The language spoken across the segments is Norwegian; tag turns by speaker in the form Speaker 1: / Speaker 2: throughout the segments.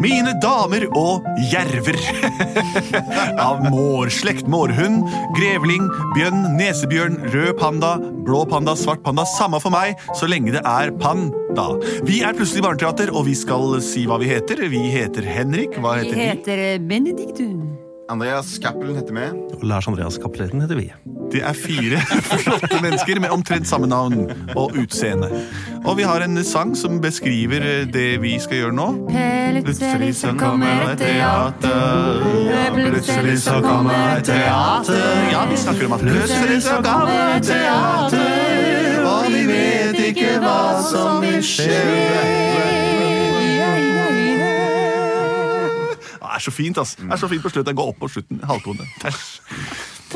Speaker 1: Mine damer og jerver. Av mårslekt mårhund, grevling, bjønn, nesebjørn, rød panda, blå panda, svart panda. Samme for meg, så lenge det er panda. Vi er plutselig barneteater, og vi skal si hva vi heter. Vi heter Henrik. Hva
Speaker 2: Vi
Speaker 1: heter vi?
Speaker 2: heter eh, Benedikt, du.
Speaker 3: Andreas Cappelen heter med.
Speaker 4: Og Lars Andreas Cappeleten heter vi.
Speaker 1: Det er fire flotte mennesker med omtrent samme navn og utseende. Og vi har en sang som beskriver eh, det vi skal gjøre nå.
Speaker 2: Plutselig så kommer et teater. Plutselig så kommer et teater.
Speaker 1: Ja, vi snakker om at plutselig så kommer et teater, og vi vet ikke hva som vil skje. Det er så fint, ass. Det er så fint på slutten. Gå opp på slutten. Halvtone. Tæsj.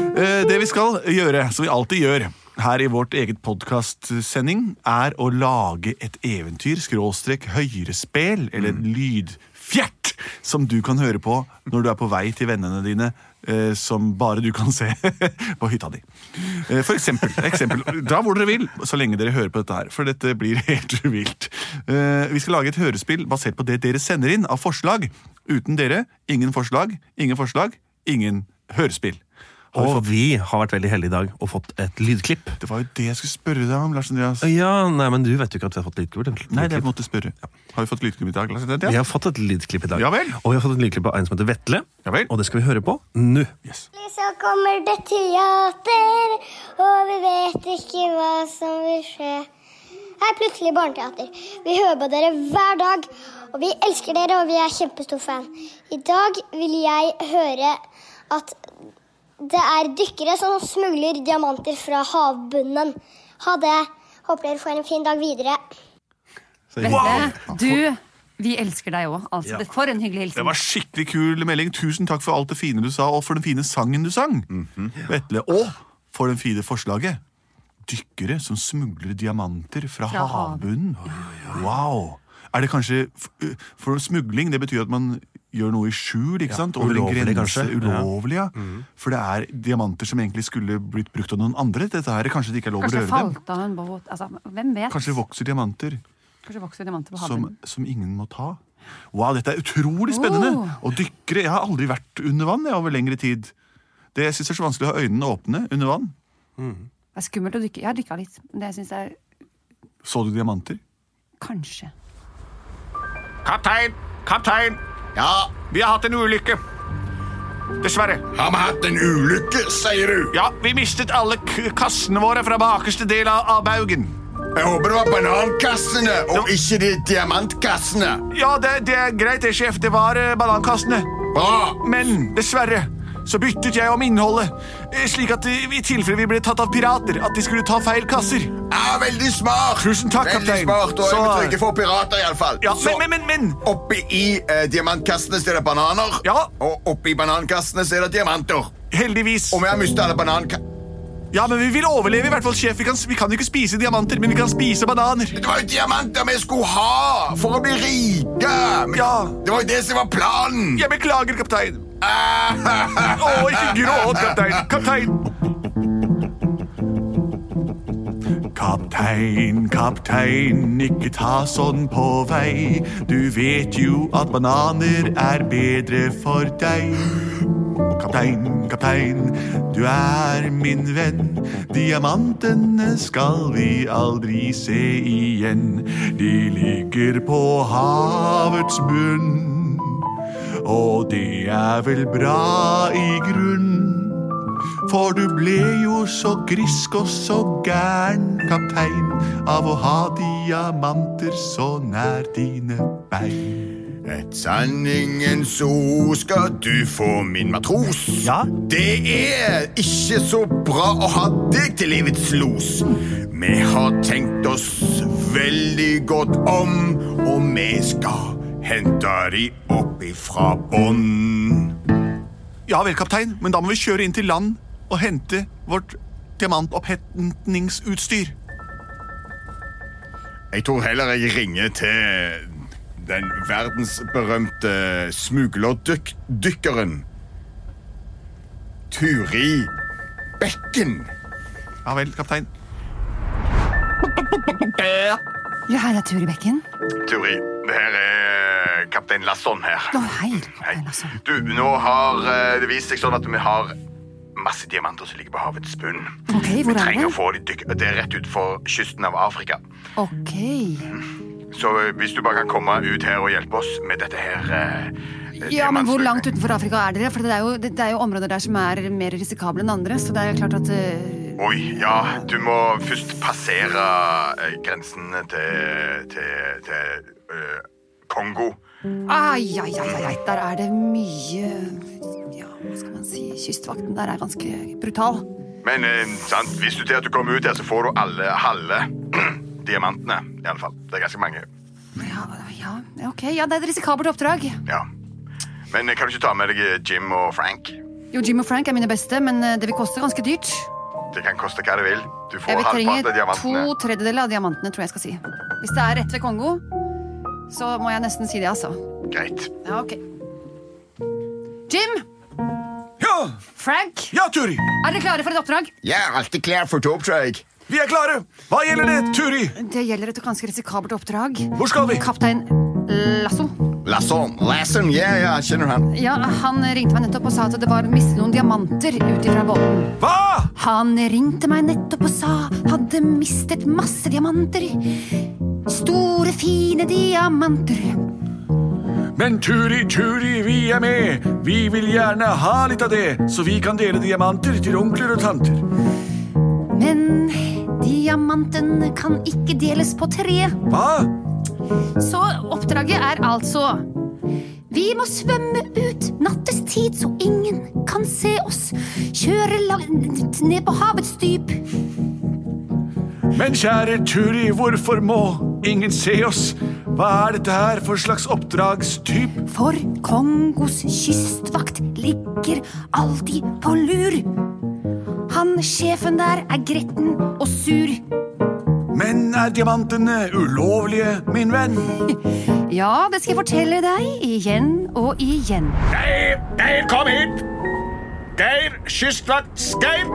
Speaker 1: Eh, Det vi skal gjøre, som vi alltid gjør her i vårt eget podkastsending, er å lage et eventyr, skråstrek høyrespel, eller en lydfjert, som du kan høre på når du er på vei til vennene dine. eh, Som bare du kan se på hytta di. Eh, For eksempel, eksempel. Dra hvor dere vil, så lenge dere hører på dette her. For dette blir helt vilt. Eh, Vi skal lage et hørespill basert på det dere sender inn av forslag. Uten dere, ingen forslag, ingen forslag, ingen hørespill. Har vi
Speaker 4: Og vi har vært veldig heldige i dag og fått et lydklipp.
Speaker 1: det var jo det jeg skulle spørre deg om, Lars Andreas.
Speaker 4: Ja, nei, men du vet jo ikke at vi har fått lydklipp.
Speaker 1: Nei, det jeg måtte spørre. Har vi fått lydklipp i dag, Lars
Speaker 4: Vi
Speaker 1: Andreas?
Speaker 4: har fått et lydklipp i dag.
Speaker 1: Ja vel.
Speaker 4: Og vi har fått et lydklipp av en som heter Vetle.
Speaker 1: Ja vel.
Speaker 4: Og det skal vi høre på nå.
Speaker 1: Yes.
Speaker 5: Så kommer det teater, og vi vet ikke hva som vil skje. Her er plutselig barneteater. Vi hører på dere hver dag, og vi elsker dere, og vi er kjempestor fan. I dag vil jeg høre at det er dykkere som smugler diamanter fra havbunnen. Ha det. Håper dere får en fin dag videre.
Speaker 2: Vetle, du, vi elsker deg òg. Altså, det- for en
Speaker 1: Det
Speaker 2: hyggelig hilsen.
Speaker 1: var skikkelig kul melding. Tusen takk for alt det fine du sa, og for den fine sangen du sang.
Speaker 4: Mhm.
Speaker 1: Vetle, og for den fine forslaget. Dykkere som smugler diamanter fra,
Speaker 2: Fra
Speaker 1: havbunnen. Wow! Er det kanskje f- ø, For smugling det betyr at man gjør noe i skjul. ikke sant? Over en grense.
Speaker 4: ulovlig, kanskje. Mhm.
Speaker 1: Ulovlig, ja. For det er diamanter som egentlig skulle blitt brukt av noen andre. Dette her, Kanskje det ikke er lov å
Speaker 2: Kanskje det
Speaker 1: røre dem?
Speaker 2: falt av en båt. Altså, hvem vet?
Speaker 1: Kanskje det vokser diamanter?
Speaker 2: Kanskje det vokser diamanter på
Speaker 1: som,
Speaker 2: havbunnen.
Speaker 1: som ingen må ta. Wow, dette er utrolig spennende!
Speaker 2: Oh.
Speaker 1: Og dykkere Jeg har aldri vært under vann jeg, over lengre tid. Det jeg synes er så vanskelig å ha øynene åpne under vann.
Speaker 2: Det er skummelt å dykke. Jeg har dykka litt. men Det syns jeg
Speaker 1: Så du diamanter?
Speaker 2: kanskje
Speaker 6: Kaptein! Kaptein!
Speaker 3: Ja,
Speaker 6: Vi har hatt en ulykke. Dessverre.
Speaker 3: har vi hatt en ulykke, sier du?
Speaker 6: Ja, vi mistet alle k kassene våre fra bakerste del av, av baugen.
Speaker 3: Jeg håper det var banankassene og ikke de diamantkassene.
Speaker 6: Ja, det, det er greit, det, sjef. Det var eh, banankassene.
Speaker 3: Bra.
Speaker 6: Men dessverre så byttet jeg om innholdet, eh, slik at eh, i tilfelle vi ble tatt av pirater, at de skulle ta feil kasser.
Speaker 3: Ja, veldig smart.
Speaker 6: Tusen takk,
Speaker 3: veldig
Speaker 6: kaptein.
Speaker 3: smart, og
Speaker 6: Så-
Speaker 3: jeg vil trykke for pirater, iallfall.
Speaker 6: Ja, men, men, men, men.
Speaker 3: Oppi i eh, diamantkassene så er det bananer,
Speaker 6: Ja.
Speaker 3: og oppi banankassene så er det diamanter.
Speaker 6: Heldigvis.
Speaker 3: Og vi har mistet alle banankassene.
Speaker 6: Ja, men vi vil overleve i hvert fall, sjef. Vi kan, vi kan jo ikke spise diamanter, men vi kan spise bananer.
Speaker 3: Det var jo diamanter vi skulle ha for å bli rike! Men
Speaker 6: Ja.
Speaker 3: Det var jo det som var planen! Ah.
Speaker 6: Jeg beklager, kaptein. Å, ikke gråt, kaptein. Kaptein.
Speaker 1: Kaptein, kaptein, ikke ta sånn på vei. Du vet jo at bananer er bedre for deg. Kaptein, kaptein, du er min venn. Diamantene skal vi aldri se igjen. De ligger på havets bunn. Og det er vel bra i grunn. For du ble jo så grisk og så gæren, kaptein, av å ha diamanter så nær dine bein.
Speaker 3: Et sanningens ord skal du få, min matros.
Speaker 1: Ja.
Speaker 3: Det er ikke så bra å ha deg til livets los. Vi har tenkt oss veldig godt om, og vi skal hente de opp ifra bånn.
Speaker 1: Ja vel, kaptein, men da må vi kjøre inn til land og hente vårt diamantopphentningsutstyr.
Speaker 3: Jeg tror heller jeg ringer til den verdensberømte smuglerdykkeren Turi Bekken.
Speaker 1: Ja vel, kaptein.
Speaker 2: Ja, her er Turi Bekken.
Speaker 3: Turi, det her er eh, kaptein Lasson her.
Speaker 2: Å, hei, kaptein Lasson.
Speaker 3: Du, nå har eh, det vist seg sånn at vi har masse diamanter som ligger på havets bunn.
Speaker 2: Ok,
Speaker 3: Vi
Speaker 2: hvor er
Speaker 3: trenger
Speaker 2: det?
Speaker 3: å få de dyk... Det er rett utfor kysten av Afrika.
Speaker 2: Ok.
Speaker 3: Så eh, hvis du bare kan komme ut her og hjelpe oss med dette her eh,
Speaker 2: Ja, men hvor
Speaker 3: diamantstykket.
Speaker 2: langt utenfor Afrika er dere? For det er jo, det er jo områder der som er mer risikable enn andre, så det er klart at eh,
Speaker 3: Oi, ja. Du må først passere eh, grensen til, til, til eh, Kongo.
Speaker 2: Ai, ai, ai, ai, ai, der er det mye Ja, hva skal man si Kystvakten der er ganske brutal.
Speaker 3: Men eh, sant, hvis du til at du kommer ut her, så får du alle halve diamantene. I alle fall. Det er ganske mange.
Speaker 2: Ja, ja, ja, ok. Ja, det er et risikabelt oppdrag.
Speaker 3: Ja. Men eh, kan du ikke ta med deg eh, Jim og Frank?
Speaker 2: Jo, Jim og Frank er mine beste, men eh, det vil koste ganske dyrt.
Speaker 3: Det kan koste hva det vil. Du
Speaker 2: Jeg
Speaker 3: får
Speaker 2: vil
Speaker 3: halvparten av
Speaker 2: trenge
Speaker 3: diamantene.
Speaker 2: to tredjedeler av diamantene, tror jeg jeg skal si. Hvis det er rett ved Kongo, så må jeg nesten si det, altså.
Speaker 3: Greit.
Speaker 2: Ja, ok. Jim!
Speaker 1: Ja!
Speaker 2: Frank!
Speaker 1: Ja, Turi!
Speaker 2: Er dere klare for et oppdrag?
Speaker 3: Jeg er alltid klar for et oppdrag.
Speaker 1: Vi er klare! Hva gjelder det, Turi?
Speaker 2: Det gjelder et ganske risikabelt oppdrag.
Speaker 1: Hvor skal vi?
Speaker 2: Kaptein Lasso.
Speaker 3: Lasson. Lasson, ja, ja, jeg kjenner han.
Speaker 2: Ja, Han ringte meg nettopp og sa at det var mistet noen diamanter ut ifra båten.
Speaker 1: Hva?
Speaker 2: Han ringte meg nettopp og sa hadde mistet masse diamanter. Store, fine diamanter.
Speaker 1: Men Turi, Turi, vi er med! Vi vil gjerne ha litt av det, så vi kan dele diamanter til onkler og tanter.
Speaker 2: Men diamanten kan ikke deles på tre.
Speaker 1: Hva?
Speaker 2: Så oppdraget er altså Vi må svømme ut nattestid så ingen kan se oss. Kjøre la- ned på havets dyp.
Speaker 1: Men kjære Turi, hvorfor må ingen se oss? Hva er dette her for slags oppdragstyp?
Speaker 2: For Kongos kystvakt ligger alltid på lur. Han sjefen der er gretten og sur.
Speaker 1: Men er diamantene ulovlige, min venn?
Speaker 2: Ja, det skal jeg fortelle deg igjen og igjen.
Speaker 6: Geir, Geir, kom hit! Geir, kystvakt Geir!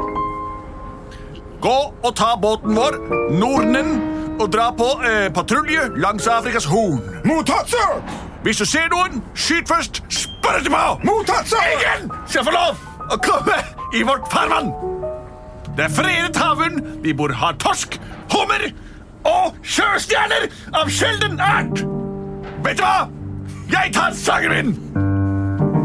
Speaker 1: Gå og ta båten vår, Nordnen, og dra på eh, patrulje langs Afrikas Horn.
Speaker 3: Mottatt, sir!
Speaker 1: Hvis du ser noen, skyt først, spør etterpå!
Speaker 3: Mottatt, sir!
Speaker 1: Ingen skal få lov å komme i vårt farvann! Det er fredet havbunn, vi bor har torsk, hummer og sjøstjerner av sjelden art! Vet du hva? Jeg tar sangen min!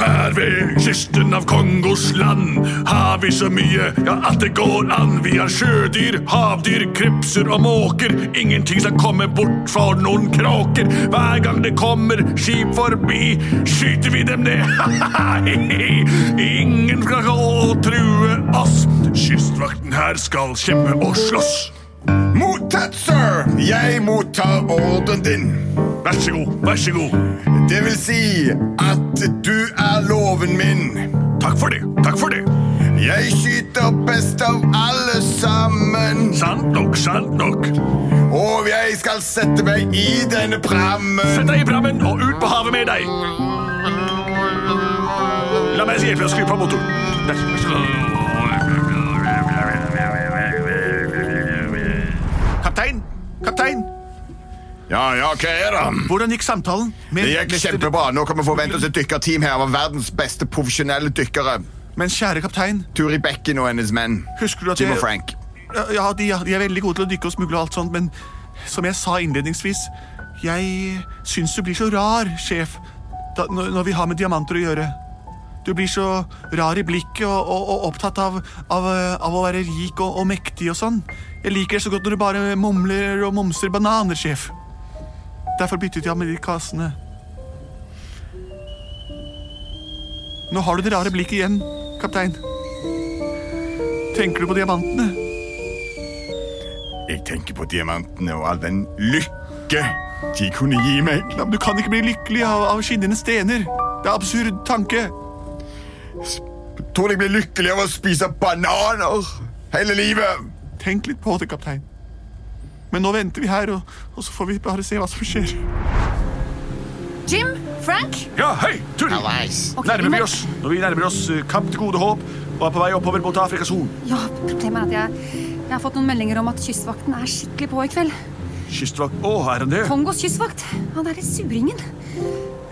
Speaker 1: Her ved kysten av Kongos land har vi så mye, ja, at det går an. Vi har sjødyr, havdyr, krepser og måker. Ingenting skal komme bort for noen kråker. Hver gang det kommer skip forbi, skyter vi dem ned. Ingen skal gå og true oss. Kystvakten her skal kjempe og slåss.
Speaker 3: Mottatt, sir! Jeg mottar ordren din.
Speaker 1: Vær så god, vær så god.
Speaker 3: Det vil si at du er loven min.
Speaker 1: Takk for det, takk for det.
Speaker 3: Jeg skyter best av alle sammen.
Speaker 1: Sant nok, sant nok.
Speaker 3: Og jeg skal sette meg i denne prammen.
Speaker 1: Sett deg i prammen og ut på havet med deg. La meg hjelpe deg å skru på motoren. Der. Kaptein, kaptein,
Speaker 3: Ja, ja, hva er det?
Speaker 1: hvordan gikk samtalen? med
Speaker 3: Det gikk
Speaker 1: mester-
Speaker 3: kjempebra. Nå kan vi forvente oss et dykkerteam her av verdens beste profesjonelle dykkere.
Speaker 1: Men kjære kaptein,
Speaker 3: Turi Bekken og hennes menn.
Speaker 1: husker du at
Speaker 3: Jim
Speaker 1: jeg...
Speaker 3: og Frank.
Speaker 1: Ja, ja de, de er veldig gode til å dykke og smugle og alt sånt, men som jeg sa innledningsvis, jeg syns du blir så rar, sjef, da, når, når vi har med diamanter å gjøre. Du blir så rar i blikket og, og, og opptatt av, av, eh, av å være rik og, og mektig og sånn. Jeg liker det så godt når du bare mumler og momser bananer, sjef. Derfor byttet jeg av med de kassene. Nå har du det rare blikket igjen, kaptein. Tenker du på diamantene?
Speaker 3: Jeg tenker på diamantene og all den lykke de kunne gi meg.
Speaker 1: Ja, men du kan ikke bli lykkelig av, av skinnende stener. Det er absurd tanke.
Speaker 3: Tror jeg blir lykkelig av å spise bananer hele livet.
Speaker 1: Tenk litt på det, kaptein. Men nå venter vi her, og, og så får vi bare se hva som skjer.
Speaker 2: Jim, Frank,
Speaker 1: Ja, hei, Turi!
Speaker 2: Ok,
Speaker 1: Nærmer
Speaker 2: vi
Speaker 1: vi
Speaker 2: må-
Speaker 1: oss når vi nærmer oss eh, Kamp til gode håp og er på vei oppover mot Afrikas horn.
Speaker 2: Ja, problemet er at jeg, jeg har fått noen meldinger om at kystvakten er skikkelig på i kveld.
Speaker 1: Kystvakt Å, er han det?
Speaker 2: Kongos kystvakt. Han derre suringen.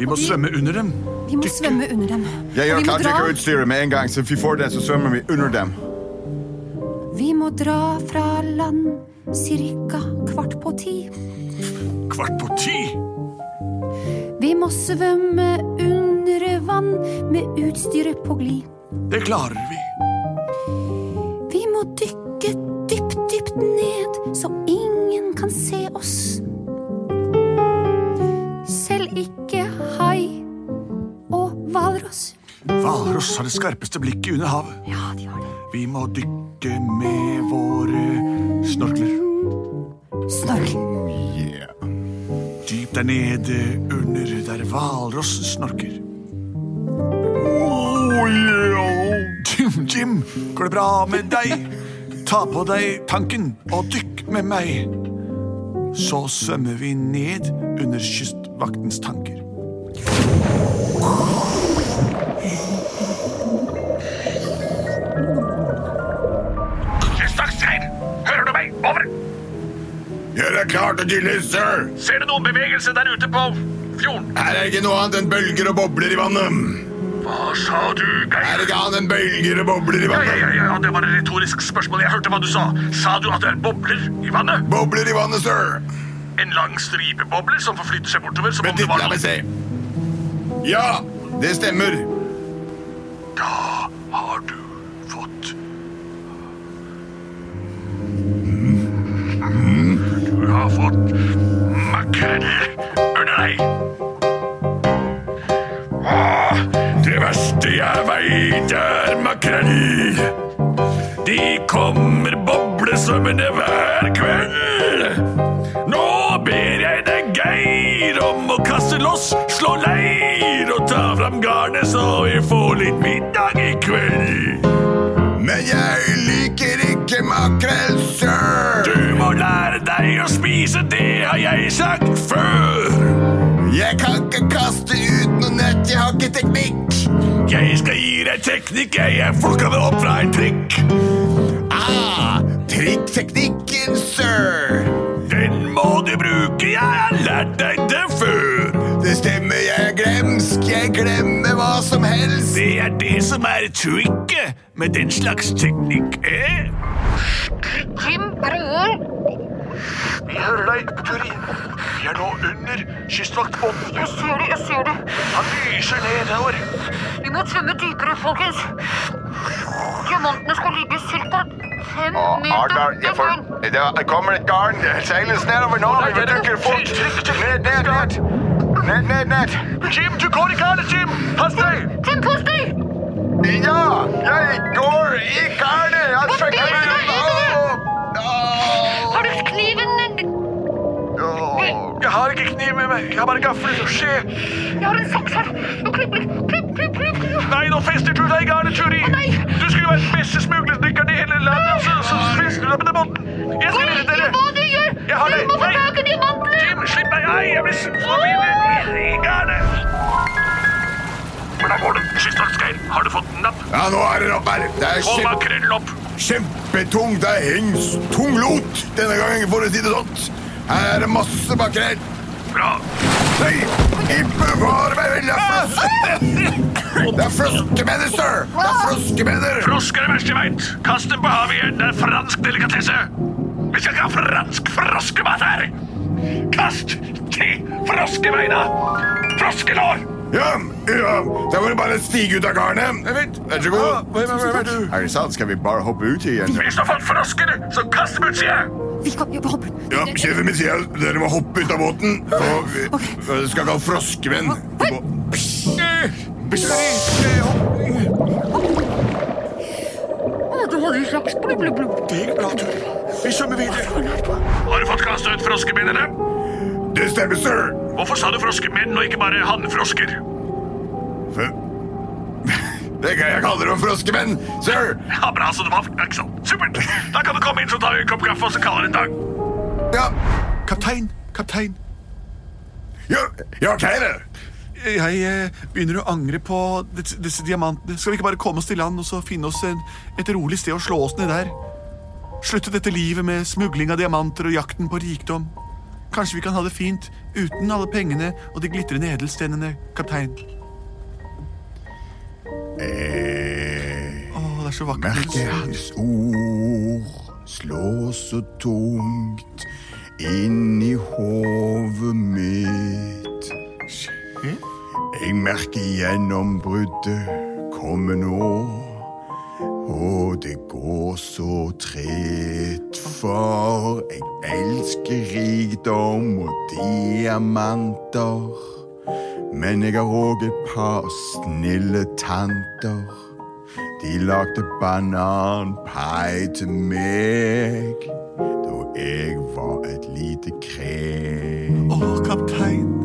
Speaker 1: Vi må
Speaker 2: de-
Speaker 1: svømme under dem.
Speaker 2: Vi må svømme under dem. Og
Speaker 3: Jeg gjør
Speaker 2: vi må
Speaker 3: klart
Speaker 2: dra-
Speaker 3: utstyret med en gang, så vi får den, så svømmer vi under dem.
Speaker 2: Vi må dra fra land cirka kvart på ti.
Speaker 1: Kvart på ti!
Speaker 2: Vi må svømme under vann med utstyret på glid.
Speaker 1: Det klarer vi.
Speaker 2: Vi må dykke dypt, dypt ned, så ingen kan se oss. Selv ikke hai og hvalross.
Speaker 1: Hvalross har det skarpeste blikket under havet.
Speaker 2: Ja, de har det.
Speaker 1: Vi må dykke med våre snorkler.
Speaker 2: Snorkel.
Speaker 1: Oh,
Speaker 3: Yeah.
Speaker 1: Dypt der nede under der hvalross snorker. Oh, yeah. Jim, Jim, går det bra med deg? Ta på deg tanken og dykk med meg. Så svømmer vi ned under kystvaktens tanker.
Speaker 6: Kystvaktskrein! Hører du meg? Over!
Speaker 3: Gjør deg klar til gildet, sir!
Speaker 6: Ser du noen bevegelse der ute på fjorden?
Speaker 3: Her er ikke noe annet enn bølger og bobler i vannet.
Speaker 6: Hva sa du,
Speaker 3: Her
Speaker 6: Geir?
Speaker 3: er ikke annet enn bølger og bobler i
Speaker 6: Ja, ja,
Speaker 3: vannet.
Speaker 6: ja, ja, det var et retorisk spørsmål. Jeg hørte hva du sa. Sa du at det er bobler i vannet?
Speaker 3: Bobler i vannet, sir!
Speaker 6: En lang stripe bobler som forflytter seg bortover som om
Speaker 3: Vent
Speaker 6: det
Speaker 3: litt,
Speaker 6: var
Speaker 3: la meg
Speaker 6: noe.
Speaker 3: se. Ja, det stemmer.
Speaker 6: Da har du fått Du har fått makrell under deg. Åh, det verste jeg veit, er makrell. De kommer boblesvømmende hver kveld. Nå ber jeg deg, Geir, om å kaste loss, slå leir og ta fram garnet, så vi får litt middag i kveld.
Speaker 3: Men jeg liker ikke makrell, sir!
Speaker 6: Du må lære deg å spise, det har jeg sagt før.
Speaker 3: Jeg kan ikke kaste ut noe nett, jeg har ikke teknikk.
Speaker 6: Jeg skal gi deg teknikk, jeg. Jeg plukka det opp fra en trikk.
Speaker 3: Ah, trikk-teknikken, sir!
Speaker 6: Den må du bruke, jeg har lært deg det før.
Speaker 3: Det stemmer, jeg er glemsk, jeg glemmer hva som helst.
Speaker 6: Det er det som er tricket med den slags teknikk, eh?
Speaker 7: Jim Bruen,
Speaker 6: Vi hører deg, Turi. Vi er nå under kystvaktbåten.
Speaker 7: jeg ser det, jeg ser det.
Speaker 6: Han lyser nedover.
Speaker 7: Vi må svømme dypere, folkens. Diamantene skal ligge ca. fem meter unna.
Speaker 3: det kommer et garn. Det seiles nedover nå.
Speaker 6: vi dukker fort. Ned, ned, ned.
Speaker 3: Ned, ned, ned.
Speaker 6: Jim, du går i garnet, Jim! Pass deg!
Speaker 7: Tim, pass deg!
Speaker 3: Ja, jeg går i garnet. Jeg
Speaker 7: Hva
Speaker 3: sjekker
Speaker 7: mener
Speaker 3: meg
Speaker 7: du? Har du kniven?
Speaker 6: Jeg har ikke kniv med meg. Jeg har bare gaffel og skje.
Speaker 7: Jeg har en saks her. Nå klipper jeg. Klipp, klipp, klipp.
Speaker 6: Nei, nå fester du deg i garnet, Turi.
Speaker 7: nei.
Speaker 6: Du skulle jo være den beste smuglerdykkeren i hele landet, og så, så fester du deg på den måten. Jeg skal redde
Speaker 7: Gjør
Speaker 6: dere.
Speaker 7: hva du gjør!
Speaker 6: Jeg har
Speaker 7: Du
Speaker 6: det.
Speaker 7: må få
Speaker 6: Nei.
Speaker 7: tak i diamantene!
Speaker 6: Jim, slipp meg. Nei, jeg blir forvirret i garnet. Hvordan går det? Kystvaktgeir, har du fått den napp?
Speaker 3: Ja, nå er den opp her. Det er
Speaker 6: Få
Speaker 3: kjempe...
Speaker 6: makrellen opp.
Speaker 3: Kjempetung, det er hengs tung lot denne gangen, for å si det sånn. Her er det masse makrell.
Speaker 6: Bra.
Speaker 3: Nei, ikke bevare meg vel, det er frosk- Det er froskemenner, sir! Det er froskemenner!
Speaker 6: Frosk er det verste jeg vet. Kast dem på havet igjen. Det er fransk delikatesse. Vi skal ikke ha fransk froskemat her. Kast de froskebeina. Froskelår.
Speaker 3: Ja, ja, da må du bare stige ut av garnet. Vent, vær så god.
Speaker 1: hvem er du?
Speaker 3: Er det sant? Skal vi bare hoppe ut igjen?
Speaker 6: Hvis du har fått frosker, så kast dem ut, sier jeg.
Speaker 2: Vi kan vi hopper.
Speaker 3: Ja, sjefen min sier at dere må hoppe ut av båten. Og vi vi skal kalle froskemenn. Vi må-
Speaker 7: Å, du hadde en slags blubb, blubb, blubb.
Speaker 1: Det gikk bra, Turi. Vi svømmer videre.
Speaker 6: Har du fått kastet ut froskebindene?
Speaker 3: Det stemmer, sir.
Speaker 6: Hvorfor sa du froskemenn og ikke bare hannfrosker?
Speaker 3: F- Det kan jeg kalle dem froskemenn, sir.
Speaker 6: Ja, bra, så det var ja, ikke sant. Supert. Da kan du komme inn, så tar vi en kopp kaffe og så kaller det en dag.
Speaker 3: Ja,
Speaker 1: Kaptein, kaptein.
Speaker 3: ja, ja, ok, det.
Speaker 1: Jeg eh, begynner å angre på dets- disse diamantene. Skal vi ikke bare komme oss til land og så finne oss en, et rolig sted å slå oss ned der? Slutte dette livet med smugling av diamanter og jakten på rikdom. Kanskje vi kan ha det fint uten alle pengene og de glitrende edelstenene, kaptein.
Speaker 3: Eh,
Speaker 1: Å, det er så vakkert.
Speaker 3: merke hans ord slå så tungt inn i hovet mitt. Jeg merker gjennombruddet komme nå, og det går så tregt, for jeg elsker rikdom og diamanter. Men jeg har òg et par snille tanter. De lagde bananpai til meg da jeg var et lite krek.
Speaker 1: Å, kaptein.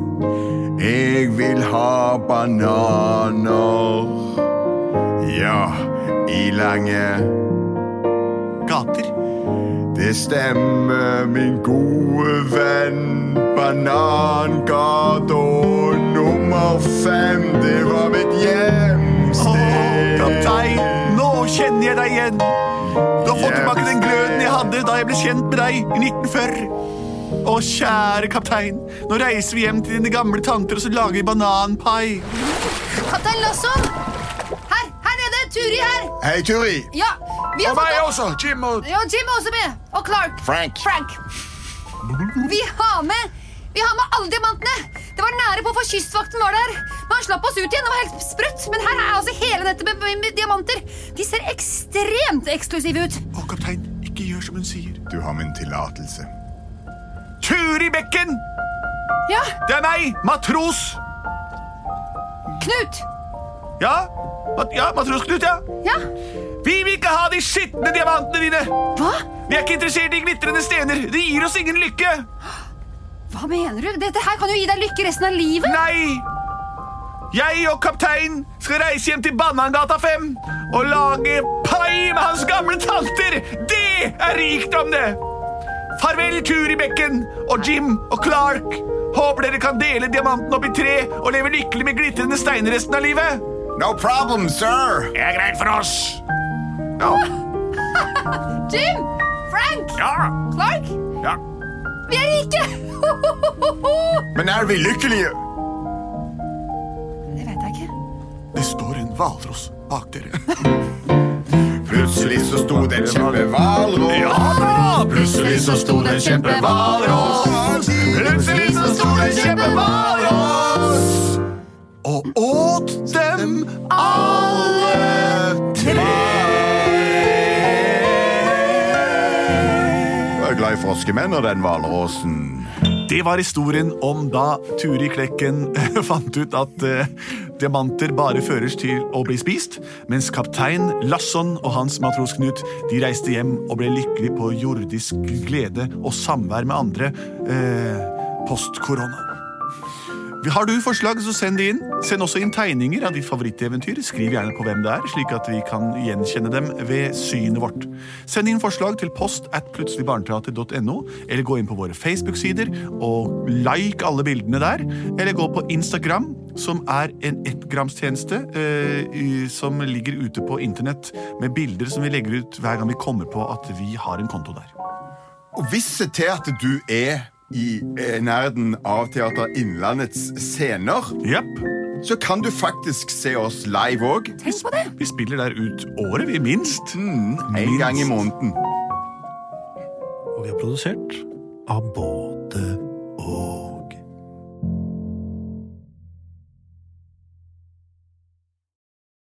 Speaker 3: Jeg vil ha bananer. Ja, i lange
Speaker 1: Gater.
Speaker 3: Det stemmer, min gode venn. Banangata nummer fem, det var mitt
Speaker 1: Å,
Speaker 3: hjemsted.
Speaker 1: kaptein, nå kjenner jeg deg igjen. Du har fått tilbake den gløden jeg hadde da jeg ble kjent med deg i 1940. Å, kjære kaptein, nå reiser vi hjem til dine gamle tanter og så lager vi bananpai.
Speaker 2: Kaptein Lasson! Her! Her nede! Turi her!
Speaker 3: Hei, Turi.
Speaker 2: Ja! Vi har
Speaker 3: Og meg
Speaker 2: fått
Speaker 3: også. Jim og
Speaker 2: Ja, Jim er også med! Og Clark.
Speaker 3: Frank.
Speaker 2: Vi har med Vi har med alle diamantene! Det var nære på for kystvakten var der. Men han slapp oss ut igjen. Det var helt sprøtt. Men her er altså hele nettet med, med, med diamanter. De ser ekstremt eksklusive ut.
Speaker 1: Å, kaptein, ikke gjør som hun sier.
Speaker 3: Du har min tillatelse.
Speaker 1: Turi Bekken!
Speaker 2: Ja,
Speaker 1: Det er meg, matros.
Speaker 2: Knut!
Speaker 1: Ja, mat ja matros Knut, ja.
Speaker 2: Ja?
Speaker 1: Vi vil ikke ha de skitne diamantene dine.
Speaker 2: Hva?
Speaker 1: Vi er ikke interessert i glitrende stener. Det gir oss ingen lykke.
Speaker 2: Hva mener du? Dette her kan jo gi deg lykke resten av livet.
Speaker 1: Nei! Jeg og kapteinen skal reise hjem til Banangata 5 og lage pai med hans gamle tanter. Det er rikdom, det! Farvel, Turi Bekken og Jim og Clark. Håper dere kan dele diamanten opp i tre og leve lykkelig med glitrende steiner resten av livet.
Speaker 3: No problem, sir.
Speaker 6: Det er greit for oss.
Speaker 2: Jim! Frank!
Speaker 6: Ja.
Speaker 3: Ah,
Speaker 2: Clark!
Speaker 6: ja.
Speaker 2: Vi er rike!
Speaker 3: Men er vi lykkelige?
Speaker 2: Det vet jeg ikke.
Speaker 1: Det står en hvalross bak dere.
Speaker 3: Plutselig så sto det en kjempehvalross. Plutselig så sto det en kjempehvalross. Plutselig så sto det en kjempehvalross.
Speaker 1: Og åt dem
Speaker 3: Alle tre. Jeg er glad i froskemenn og den hvalrossen.
Speaker 1: Det var historien om da Turi Klekken fant ut at eh, diamanter bare føres til å bli spist, mens kaptein Lasson og hans matros Knut de reiste hjem og ble lykkelig på jordisk glede og samvær med andre eh, post-korona. Har du forslag, så send det inn. Send også inn tegninger av ditt favoritteventyr. Skriv gjerne på hvem det er, slik at vi kan gjenkjenne dem ved synet vårt. Send inn forslag til post at plutseligbarneteater.no, eller gå inn på våre Facebook-sider og like alle bildene der. Eller gå på Instagram, som er en ettgramstjeneste eh, i- som ligger ute på internett med bilder som vi legger ut hver gang vi kommer på at vi har en konto der.
Speaker 3: Og visse til at du er i eh, nærheten av Teater Innlandets scener,
Speaker 1: Jepp.
Speaker 3: så kan du faktisk se oss live òg.
Speaker 2: Tenk på det.
Speaker 1: Vi spiller der ut året, vi, minst.
Speaker 3: En gang i måneden.
Speaker 4: Og vi er produsert av Bål.